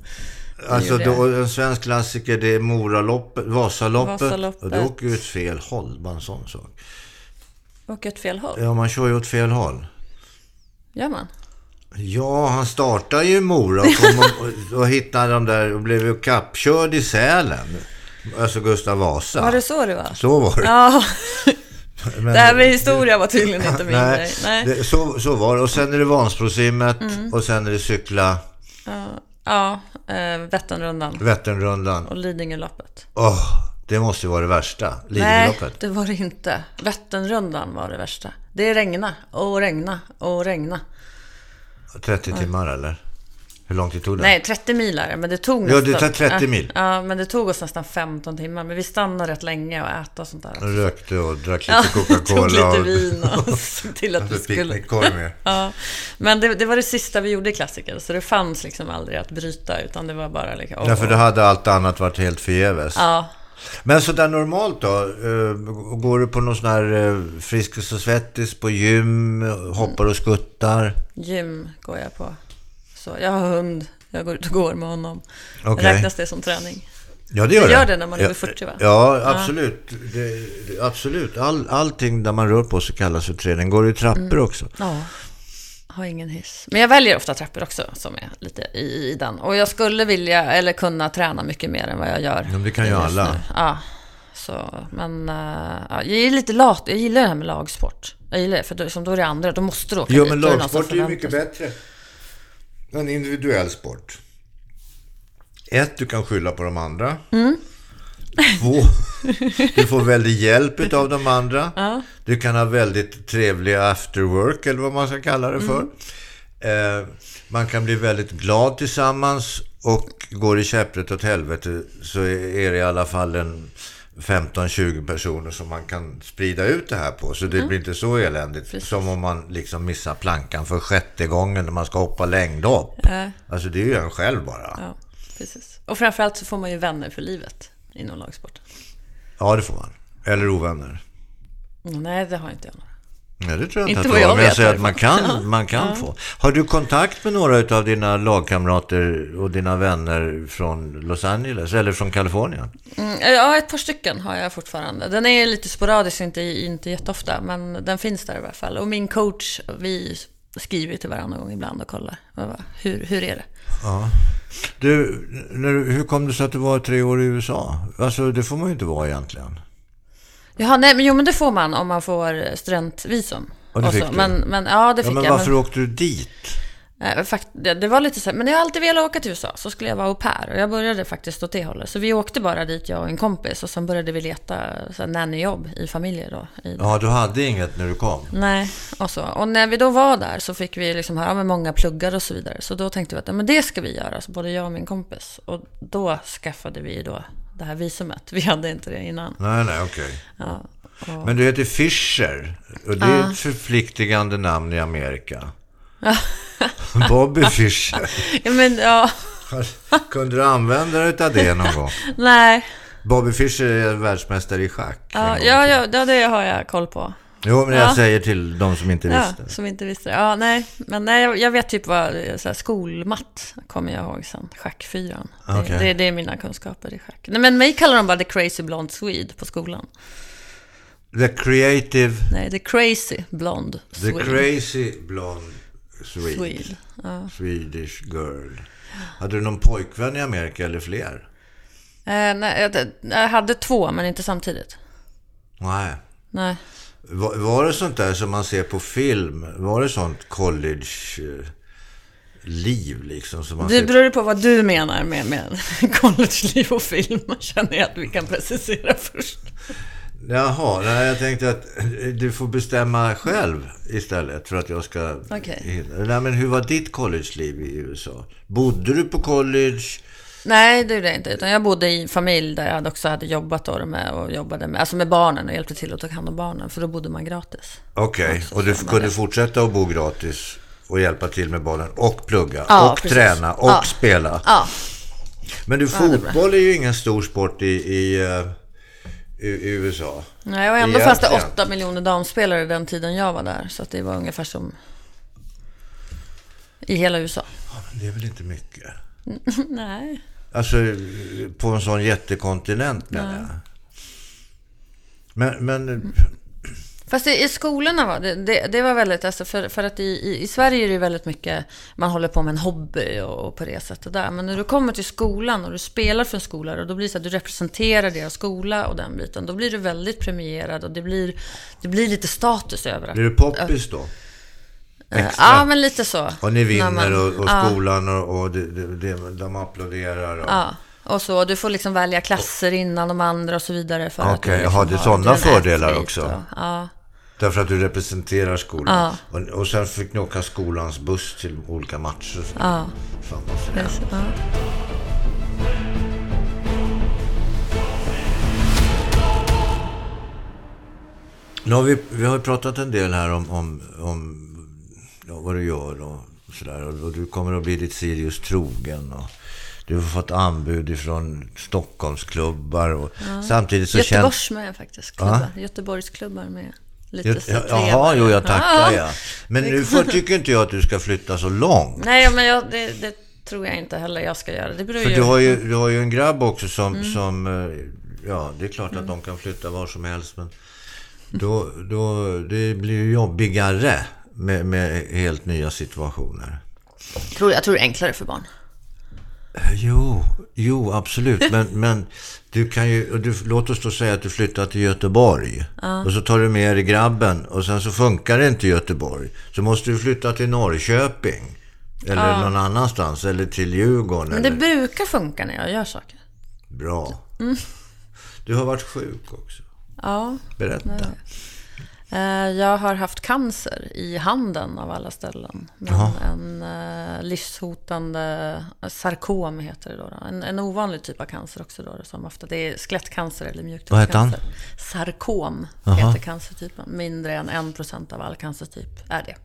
Alltså
gjorde jag.
då, en svensk klassiker det är Moraloppet, Vasaloppet.
Vasaloppet.
Och det åker ju åt fel håll, bara en sån sak.
Och åt fel håll.
Ja, man kör ju åt fel håll.
Gör man?
Ja, han startar ju i Mora och, kom och, och, och hittade de där och blev ju kappkörd i Sälen. Alltså Gustav Vasa.
Var det så det var?
Så var det.
Ja,
Men-
det här med historia var tydligen inte min grej. Nej. Mm.
Det, så, så var det. Och sen är det Vansbrosimmet och sen är det cykla
Ja, ja, eh, Vätternrundan
Vätternrundan.
och Lidingöloppet.
Åh, det måste ju vara det värsta.
Nej,
Lidingöloppet.
det var det inte. Vätternrundan var det värsta. Det regna och regna och regna.
30 timmar eller? Hur lång tid tog det?
Nej, 30 mil är det, men det tog
Ja,
nästan...
det tar 30 mil.
Ja, men det tog oss nästan 15 timmar. Men vi stannade rätt länge och äta och sånt där.
Rökte och drack lite
Ja, tog
Coca-Cola.
lite
och-
vin och såg till att vi
Alltså
skulle...
picknickkorv med.
Ja, men det, det var det sista vi gjorde i klassiker, så det fanns liksom aldrig att bryta, utan det var bara liksom...
Därför då hade allt annat varit helt förgäves.
Ja,
Men sådär normalt då? eh, Går du på någon sån här eh, Friskis och Svettis på gym? Hoppar och skuttar?
gym går jag på. Så jag har hund, jag går ut och går med honom.
Okej.
Räknas det som träning?
Ja, det gör
Det gör det när man är över 40, va?
Ja, absolut. Det, det, absolut. All, allting där man rör på sig kallas för träning. Går du i trappor
Mm.
också?
Ja. Har ingen hiss. Men jag väljer ofta trappor också, som är lite i, i den. Och jag skulle vilja, eller kunna träna mycket mer än vad jag gör.
Ja, men det kan ju
just
alla.
nu. Ja. Så, men eh, ja, jag är lite lat. Jag gillar det här med lagsport. Jag gillar det, för då, som då är det andra. Då måste du åka
Jo,
dit.
men
Då någon som
lagsport är ju
förväntar
mycket
sig.
bättre än individuell sport. Ett, du kan skylla på de andra.
Mm.
Två, du får väldigt hjälp av de andra. Du kan ha väldigt trevliga afterwork, eller vad man ska kalla det
Mm.
för. Eh, man kan bli väldigt glad tillsammans och går det käpprätt åt helvete så är det i alla fall en 15-20 personer som man kan sprida ut det här på. Så det blir inte så eländigt som om man liksom missar plankan för sjätte gången när man ska hoppa längdhopp.
Eh,
Alltså det är ju en själv bara. Ja,
ja, precis. Och framförallt så får man ju vänner för livet inom lagsport.
det får man. Eller ovänner.
Mm, Nej, det har inte jag några.
Nej, det tror jag inte,
Inte
att du
vad
har.
jag
Men jag
vet
säger
i
att man kan, man kan få. Har du kontakt med några av dina lagkamrater och dina vänner från Los Angeles eller från Kalifornien?
Mm, ja, ett par stycken har jag fortfarande. Den är lite sporadisk, inte, inte jätteofta, men den finns där i alla fall. Och min coach, vi skriver till varandra någon gång ibland och kollar. Och bara, Hur, hur är det?
Du, när, du- hur kom det sig att du var tre år i USA? Alltså, det får man ju inte vara egentligen.
Jaha, nej, men, jo, men det får man om man får studentvisum.
Ja, det
Och så.
fick du.
Men, men, ja, det
Ja,
fick
men
jag.
varför åkte du dit?
Men, eh, fakt, det, det var lite så här, men jag har alltid velat åka till USA, så skulle jag vara au pair. Och jag började faktiskt åt det hållet. Så vi åkte bara dit, jag och en kompis, och sen började vi leta så här nannyjobb i familjer då. I
Ja, du hade inget när du kom.
Nej, och så. Och när vi då var där så fick vi liksom höra med många pluggar och så vidare. Så då tänkte vi att ja, men det ska vi göra, så både jag och min kompis. Och då skaffade vi då det här visumet. Vi hade inte det innan.
Nej, nej, okej.
Ja, och...
Men du heter Fischer. Och det är ett förpliktigande namn i Amerika. Bobby Fischer.
ja, men ja,
Kunde du använda dig av det någon gång?
nej.
Bobby Fischer är världsmästare i schack. en
Ja,
gång.
ja, ja, ja, det har jag koll på.
Jo, men jag
Ja.
säger till de som inte
Ja,
visste.
som inte visste det. Ja, nej. Men nej, jag- jag vet typ vad så här, skolmatt kommer jag ihåg sen. Schackfyran.
Okej.
Det, det, det är mina kunskaper i schack. Nej, men mig kallar de bara the crazy blonde swede på skolan.
The creative,
Nej, the crazy blonde
the
swede.
crazy blonde Swede.
Swede. Ja.
Swedish girl. Hade du någon pojkvän i Amerika eller fler?
Eh, nej, jag, jag hade två, men inte samtidigt.
Nej.
Nej.
Var, var det sånt där som man ser på film? Var det sånt college-liv liksom? Som man
Det
ser på-
beror ju på vad du menar med, med collegeliv och film, känner jag att vi kan precisera först.
Jaha, nej, jag tänkte att eh, du får bestämma själv istället för att jag ska...
Okej.
Nej, men hur var ditt college-liv i USA? Bodde du på college?
Nej, det gjorde jag inte. Utan jag bodde i en familj där jag också hade jobbat då med, och jobbade med, alltså med barnen och hjälpte till att ta hand om barnen, för då bodde man gratis.
Okej, och du kunde fortsätta att bo gratis och hjälpa till med bollen och plugga
Ja,
och
precis.
träna och
Ja.
spela.
Ja,
Men du,
det är bra.
fotboll är ju ingen stor sport i, i, eh, i, i USA.
Nej, och ändå
Egentligen.
fanns det 8 miljoner damspelare den tiden jag var där, så att det var ungefär som i hela USA.
Det är väl inte mycket?
Nej.
Alltså på en sån jättekontinent menar jag. Men,
Mm.
men
Fast i, i skolorna var det, det, det var väldigt, alltså för, för att i, i, i Sverige är det ju väldigt mycket, man håller på med en hobby och, och på det sättet där. Men när du kommer till skolan och du spelar för en skola och då blir det så att du representerar deras skola och den biten. Då blir du väldigt premierad och det blir, det blir lite status över att-
blir du poppis då?
eh,
extra?
Ja, men lite så.
Och ni vinner
När man-
och, och
ja.
skolan och, och det, det, det, de applåderar. Och...
Ja, och så. Du får liksom välja klasser innan de andra och så vidare. för att du
Okej,
liksom
jaha, det är
har-
sådana
du är en
fördelar
atlet
också.
och- Ja.
Därför att du representerar skolan. Och, och sen fick ni åka skolans buss till olika matcher. Ja. Fan vad fränt.
precis, ja.
Nu har vi, vi har ju pratat en del här om, om, om ja, vad du gör och sådär. Och, och du kommer att bli ditt Sirius trogen. Och du har fått anbud ifrån Stockholmsklubbar. Och Samtidigt så
Göteborgs
känns...
med faktiskt. Klubbar. Göteborgsklubbar med. Lite
Gö-
så
Ja,
trevare.
Jaha, jo jag
Ja.
tackar ja. Men nu får, tycker inte jag att du ska flytta så långt.
Nej, men jag, det, det tror jag inte heller jag ska göra. Det beror
För
ju...
du har ju, du har ju en grabb också som, som eh, ja det är klart att de kan flytta var som helst men då, då, det blir ju jobbigare med, med helt nya situationer.
tror, jag tror det är enklare för barn.
Eh, Jo, jo absolut. Men, men du kan ju, och du, låt oss då säga att du flyttar till Göteborg. Och så tar du med dig grabben och sen så funkar det inte i Göteborg. Så måste du flytta till Norrköping. Eller någon annanstans. Eller till Djurgården.
Men det
eller,
brukar funka när jag gör saker.
Bra. Du har varit sjuk också.
Ja.
Berätta.
Eh, Jag har haft cancer i handen av alla ställen. Men en eh, livshotande sarkom heter det då. då. En, en ovanlig typ av cancer också då. Som ofta, det är skelettcancer eller
Vad heter han?
mjukdelscancer. Sarkom heter cancertypen. Mindre än 1% av all cancertyp är det.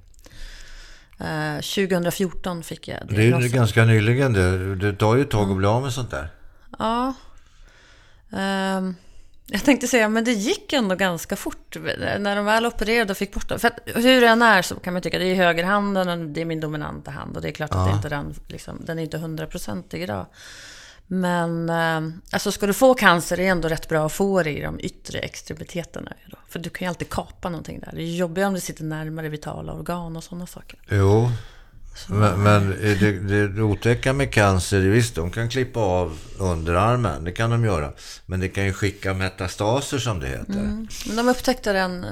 Eh, 2014 fick jag
Det är ju
diagnosen.
ganska nyligen det. Det tar ju ett tag att bli av med sånt där.
Ja. Ehm, jag tänkte säga, men det gick ändå ganska fort. När de väl opererade och fick bort den. För att, hur den är så kan man tycka, det är högerhanden och det är min dominanta hand. Och det är klart att det inte den, liksom, den är inte hundraprocentig idag. Men ehm, alltså ska du få cancer är det ändå rätt bra att få det i de yttre extremiteterna. Då. För du kan ju alltid kapa någonting där. Det är jobbigare om det sitter närmare vitala organ och sådana saker.
Jo. Men, men det, det, det otäcka med cancer, visst de kan klippa av underarmen, det kan de göra. Men det kan ju skicka metastaser som det heter.
Men de upptäckte den eh,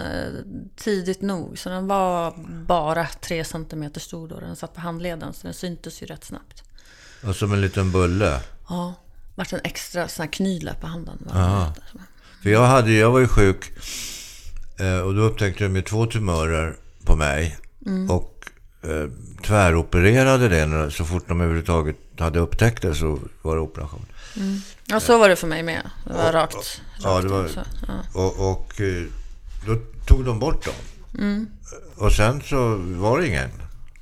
tidigt nog, så den var bara tre centimeter stor då. Den satt på handleden, så den syntes ju rätt snabbt.
Och som en liten bulle.
Ja, vart en extra sån här knyla på handen. vad
Ah.
den heter.
För jag, hade, ju- jag var ju sjuk eh, och då upptäckte de ju två tumörer på mig. Och eh, tväropererade det när- så fort de överhuvudtaget hade upptäckt det så var det operation.
Ja, så var det för mig med. Det var rakt. rakt
Ja, det var,
också. Ja.
och, och eh, då tog de bort dem.
Mm.
Och sen så var det ingen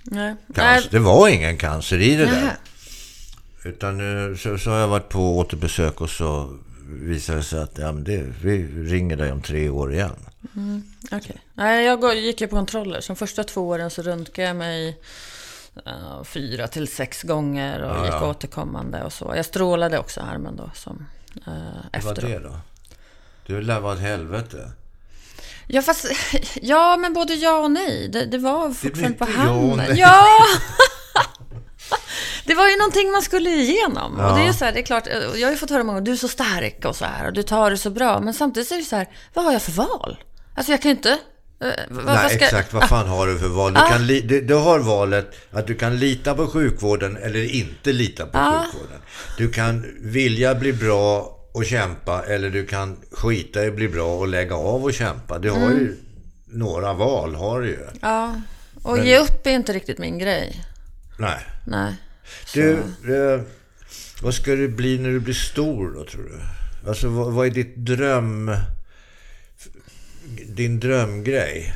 Nej.
cancer.
Nej.
Det var ingen cancer i det
Nähä.
där. Utan eh, så, så har jag varit på återbesök och så visade det sig att ja, men det, vi ringer dig om tre år igen.
Okej. Nej, jag går- gick ju på kontroller. Så de första två åren så röntgade jag mig eh, fyra till sex gånger och gick återkommande och så. Jag strålade också armen då som eh,
Vad
efter.
det då? Du lär vara ett helvete.
Ja, fast, ja, men både ja och nej. Det, det var
blir
fortfarande på
inte ja och
handen.
nej.
Ja! Det var ju någonting man skulle igenom. Och det är ju så här, det är klart, eh, jag har ju fått höra många gånger, du är så stark och så här, och du tar det så bra. Men samtidigt är det så här, vad har jag för val? Alltså jag kan ju inte... eh, vad- vad
Nej,
ska- Ah.
exakt. Vad fan har du för val? Du, kan li- du, du har valet att du kan lita på sjukvården eller inte lita på
Ah.
sjukvården. Du kan vilja bli bra och kämpa eller du kan skita i att bli bra och lägga av och kämpa. Du
Mm.
har ju några val, har du ju.
Ja, och ge upp är inte riktigt min grej.
Nej.
Nej.
Du, eh, vad ska du bli när du blir stor då, tror du? Alltså, vad, vad är ditt dröm... Din drömgrej?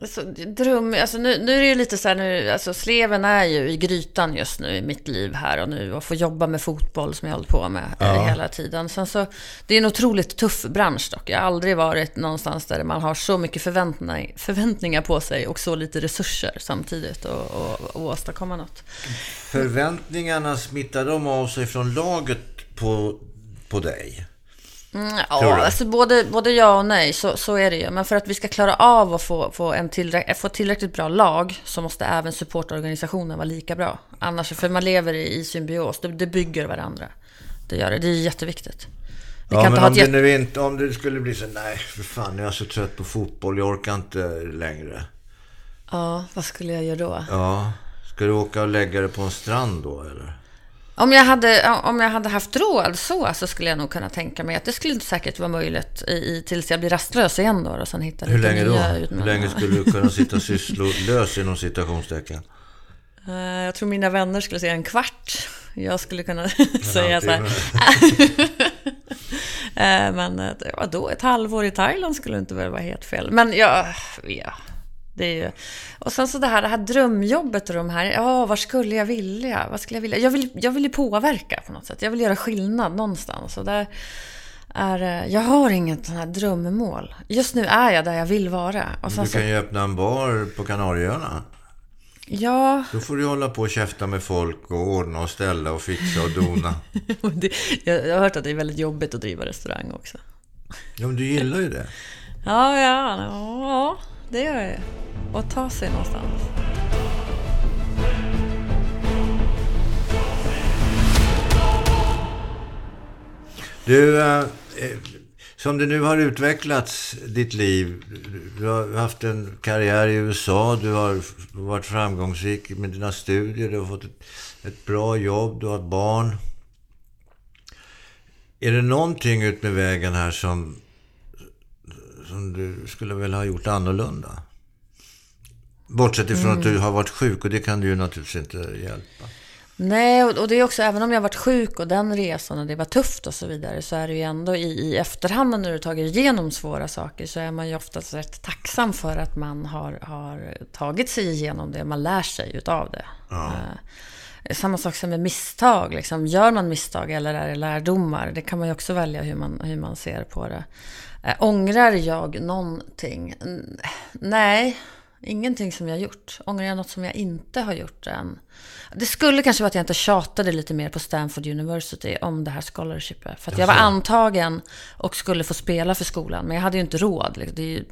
Alltså, dröm, alltså nu, nu är det ju lite så här nu, alltså sleven är ju i grytan just nu i mitt liv här och nu och få jobba med fotboll som jag hållit på med eh, hela tiden. Sen så, det är en otroligt tuff bransch dock. Jag har aldrig varit någonstans där man har så mycket förväntningar, förväntningar på sig och så lite resurser samtidigt och, och, och åstadkomma något.
Förväntningarna smittar de av sig från laget på, på dig?
Mm,
Tror
Ja,
du?
alltså både, både ja och nej, så, så är det ju. Men för att vi ska klara av att få, få, en tillräck- få tillräckligt bra lag så måste även supportorganisationen vara lika bra. Annars, för man lever i, i symbios, det, det bygger varandra. Det gör det, det är jätteviktigt. Vi
Ja,
kan
men
inte ha
om
ett
det
jätte...
nu inte, om det skulle bli så, nej för fan, jag är så trött på fotboll, jag orkar inte längre.
Ja, vad skulle jag göra då?
Ja, ska du åka och lägga dig på en strand då eller?
Om jag, hade, om jag hade haft råd så, så skulle jag nog kunna tänka mig att det skulle säkert vara möjligt i, i, tills jag blir rastlös igen då. Och sen hitta
Hur
lite
länge då?
nya
Hur
utmaningar.
länge skulle du kunna sitta sysslolös inom citationstecken?
Eh, Jag tror mina vänner skulle säga en kvart. Jag skulle kunna säga så här. Eh, Men eh, vadå, ett halvår i Thailand skulle inte väl vara helt fel. Men ja, ja. Det är ju... Och sen så det här, det här drömjobbet och de här, ja, vad skulle jag vilja? Vad skulle jag vilja? Jag vill, jag vill ju påverka på något sätt. Jag vill göra skillnad någonstans. Och där är, eh, jag har inget sånt här drömmål. Just nu är jag där jag vill vara. Och sen
Du
så,
kan ju öppna en bar på Kanarieöarna.
ja,
Då får du hålla på och käfta med folk och ordna och ställa och fixa och dona.
Och det, jag, jag har hört att det är väldigt jobbigt att driva restaurang också.
Ja, men du gillar ju det.
Ja, ja, ja det gör jag ju. Och ta sig någonstans.
Du, eh, eh, som det nu har utvecklats, ditt liv. Du har haft en karriär i USA, du har f- varit framgångsrik med dina studier, du har fått ett, ett bra jobb, du har ett barn. Är det någonting ut med vägen här som, som du skulle vilja ha gjort annorlunda? Bortsett ifrån att du har varit sjuk och det kan du ju naturligtvis inte hjälpa.
Nej, och och det är också, även om jag varit sjuk och den resan och det var tufft och så vidare, så är det ju ändå i, i efterhand när du tagit igenom svåra saker så är man ju oftast rätt tacksam för att man har, har tagit sig igenom det, man lär sig utav det. Eh, Samma sak som med misstag, liksom. gör man misstag eller är det lärdomar? Det kan man ju också välja hur man, hur man ser på det. Eh, ångrar jag någonting? N- nej, Ingenting som jag gjort. Ångrar jag något som jag inte har gjort än? Det skulle kanske vara att jag inte tjatade lite mer på Stanford University om det här scholarshipet. För att jag var antagen och skulle få spela för skolan, men jag hade ju inte råd. liksom. Det är ju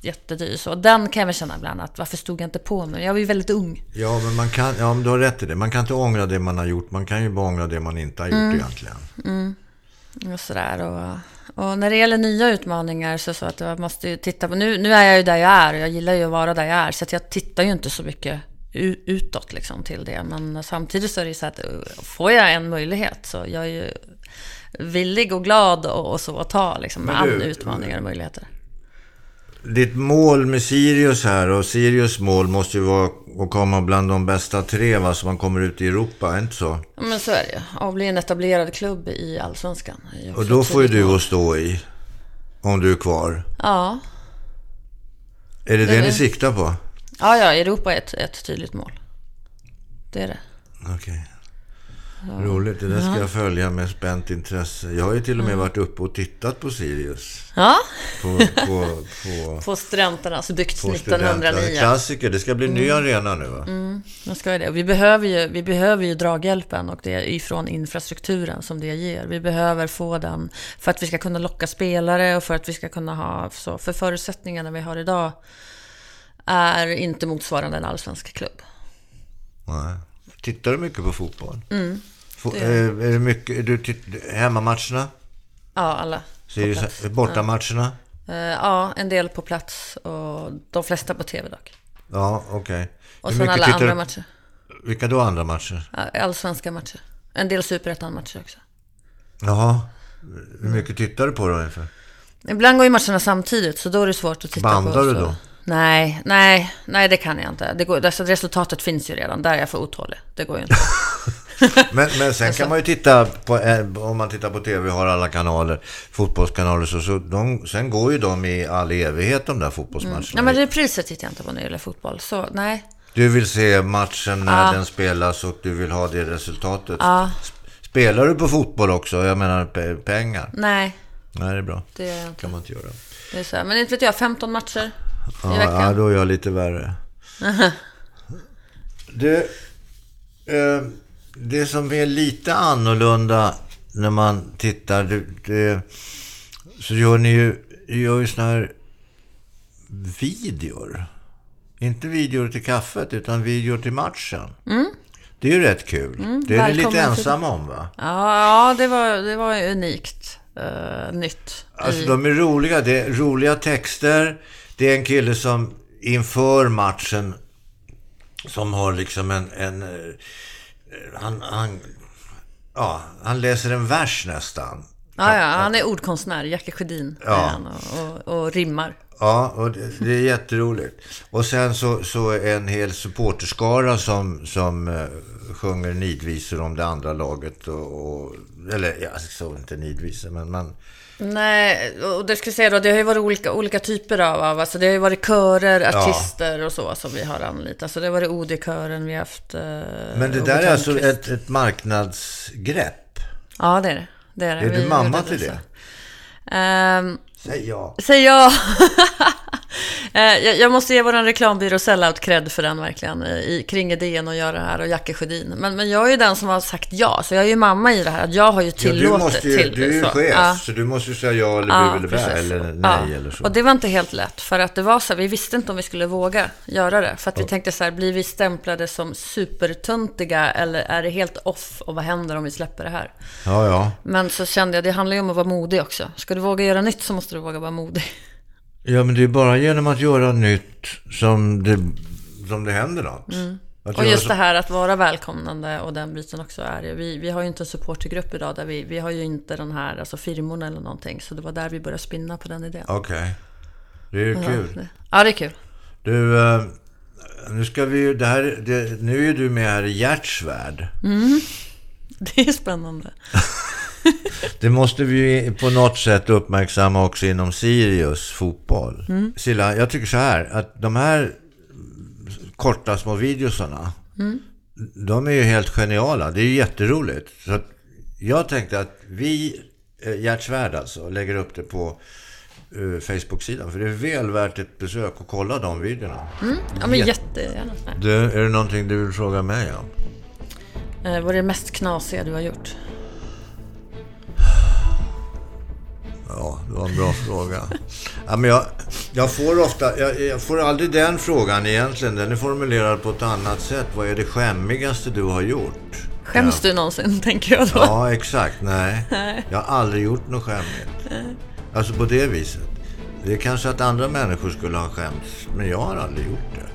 jättedyrt. Så den kan jag väl känna ibland, att varför stod jag inte på mig? Jag var ju väldigt ung.
Ja, men man kan, ja, men du har rätt i det. Man kan inte ångra det man har gjort. Man kan ju bara ångra det man inte har gjort egentligen.
Och sådär. Och, och när det gäller nya utmaningar så så att jag måste ju titta på... Nu, nu är jag ju där jag är och jag gillar ju att vara där jag är. Så att jag tittar ju inte så mycket u- utåt liksom till det. Men samtidigt så är det ju så att eh, får jag en möjlighet så jag är ju villig och glad och, och så att ta liksom
Men
an
du-
utmaningar och möjligheter.
Ditt mål med Sirius här och Sirius mål måste ju vara att komma bland de bästa tre va, så man kommer ut i Europa, är inte så?
Ja, Men så är det ju. Och bli en etablerad klubb i Allsvenskan. är ju också
Och då
ett
får ju
tydligt mål.
du att stå i. Om du är kvar.
Ja.
Är det det ni siktar på?
ja, ja, Europa är ett, ett tydligt mål. Det är det.
Okej. Roligt, det där ska jag följa med spänt intresse. Jag har ju till och med varit uppe och tittat på Sirius.
Ja,
På, på, på,
på studenternas byggt
på
1909.
Klassiker, det ska bli ny arena nu va?
Man ska ju det. Och Vi behöver ju, vi behöver ju draghjälpen och det är ifrån infrastrukturen som det ger. Vi behöver få den för att vi ska kunna locka spelare och för att vi ska kunna ha... Så, för förutsättningarna vi har idag är inte motsvarande en allsvensk klubb.
Nej. Tittar du mycket på fotboll?
Mm.
Få- eh, är det mycket, du titt, hemmamatcherna?
Ja, alla.
Så är det så- bortamatcherna?
Eh, ja, en del på plats och de flesta på tv dock.
Ja, okej.
Och
Hur
sen
mycket
alla
tittar du-
andra matcher.
Vilka då andra matcher?
Ja, Allsvenska matcher. En del superettan-matcher också.
Jaha. Hur mycket tittar du på då ungefär?
Ibland går ju matcherna samtidigt, så då är det svårt att titta på.
Bandar du
så-
då?
Nej, nej, nej det kan jag inte. Det går, alltså, resultatet finns ju redan, där är jag för otålig. Det går ju inte.
Men, men sen
Alltså-
kan man ju titta på, eh, om man tittar på TV har alla kanaler, fotbollskanaler, så, så de, sen går ju de i all evighet de där fotbollsmatcherna.
nej, Mm. men repriser tittar jag inte på när det gäller fotboll. Så nej,
Du vill se matchen när den spelas och du vill ha det resultatet. Sp- Spelar du på fotboll också? Jag menar pe- pengar.
nej,
Nej, det är bra.
det gör jag inte.
kan man inte göra.
Det är så här. Men inte vet jag, 15 matcher i
Ja, ja,
veckan.
då är jag lite värre. du, eh, det som är lite annorlunda när man tittar, du, det, så gör ni ju, gör ju såna här videor. Inte videor till kaffet, utan videor till matchen. Det är ju rätt kul. det är ni lite
Mm. välkommen till-
ensamma om va?
Ja, ja det, var, det var ju unikt. eh, nytt.
Alltså de är roliga. Det är roliga texter. Det är en kille som inför matchen som har liksom en... en eh, han, han, ja, han läser en vers nästan.
Ja, ja, han är ordkonstnär, Jacke Sjödin är han, och, och, och rimmar.
Ja, och det, det är jätteroligt. Och sen så, så är en hel supporterskara som, som eh, sjunger nidvisor om det andra laget. Och, och, eller, ja, så inte nidvisor, men man...
Nej, och det ska jag säga då, det har ju varit olika, olika typer av, av alltså det har ju varit körer, artister och så som vi har anlitat. Så det har varit OD-kören, vi har haft... eh,
Men det
Ove
där är alltså
Thörnqvist.
ett, ett marknadsgrepp.
Ja, det är det. det är det.
Är
Vi
du mamma
gjorde
till
så.
det?
Ehm,
Säg ja.
Säg ja. Eh, jag, jag måste ge vår reklambyrå sellout cred för den verkligen, eh, i, i, kring idén att göra det här och Jacke Sjödin. Men, men jag är ju den som har sagt ja, så jag är ju mamma i det här. Att jag har ju
Ja,
tillåtit
du, måste ju,
till
du är ju
så.
chef,
Ja.
så du måste ju säga ja eller bu eller bä
precis.
eller nej
Ja.
eller så.
Och det var inte helt lätt, för att det var så här, vi visste inte om vi skulle våga göra det. För att vi tänkte så här, blir vi stämplade som supertuntiga eller är det helt off och vad händer om vi släpper det här?
Ja, ja.
Men så kände jag, det handlar ju om att vara modig också. Ska du våga göra nytt så måste du våga vara modig.
Ja, men det är bara genom att göra nytt som det, som det händer något. Att
Mm. Och
göra
just
så-
det här att vara välkomnande och den biten också är ju- vi, vi har ju inte en supportergrupp idag där vi, vi har ju inte den här, alltså firmorna eller någonting. Så det var där vi började spinna på den idén.
Okej. Det är ju kul.
Ja, det är kul.
Du, eh, nu ska vi ju... Det här, det, nu är du med här i Gerts värld.
Det är spännande.
Det måste vi ju på något sätt uppmärksamma också inom Sirius fotboll. Silla, jag tycker så här att de här korta små videosarna, de är ju helt geniala. Det är ju jätteroligt. Så att jag tänkte att vi, eh, Gert Svärd alltså, lägger upp det på eh, Facebook-sidan. För det är väl värt ett besök och kolla de videorna.
Ja, men jättegärna.
Du, är det någonting du vill fråga mig om?
Eh, vad är det mest knasiga du har gjort?
Ja, det var en bra fråga. Ja, men jag, jag får ofta, jag, jag får aldrig den frågan egentligen. Den är formulerad på ett annat sätt. Vad är det skämmigaste du har gjort?
Skäms du någonsin, tänker jag då?
Eh. Ja, exakt. Nej. Jag har aldrig gjort något skämmigt. Alltså på det viset. Det är kanske att andra människor skulle ha skämts, men jag har aldrig gjort det.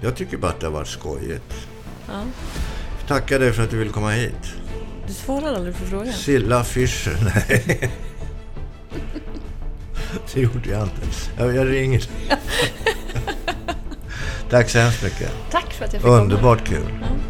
Jag tycker bara att det har varit skojigt. Tackar dig för att du ville komma hit.
Du svarar aldrig på frågan.
Silla Fischer, nej. Det gjorde jag inte. Jag, jag ringer. Tack så hemskt mycket.
Tack för att jag fick komma.
Underbart kul.
Ja.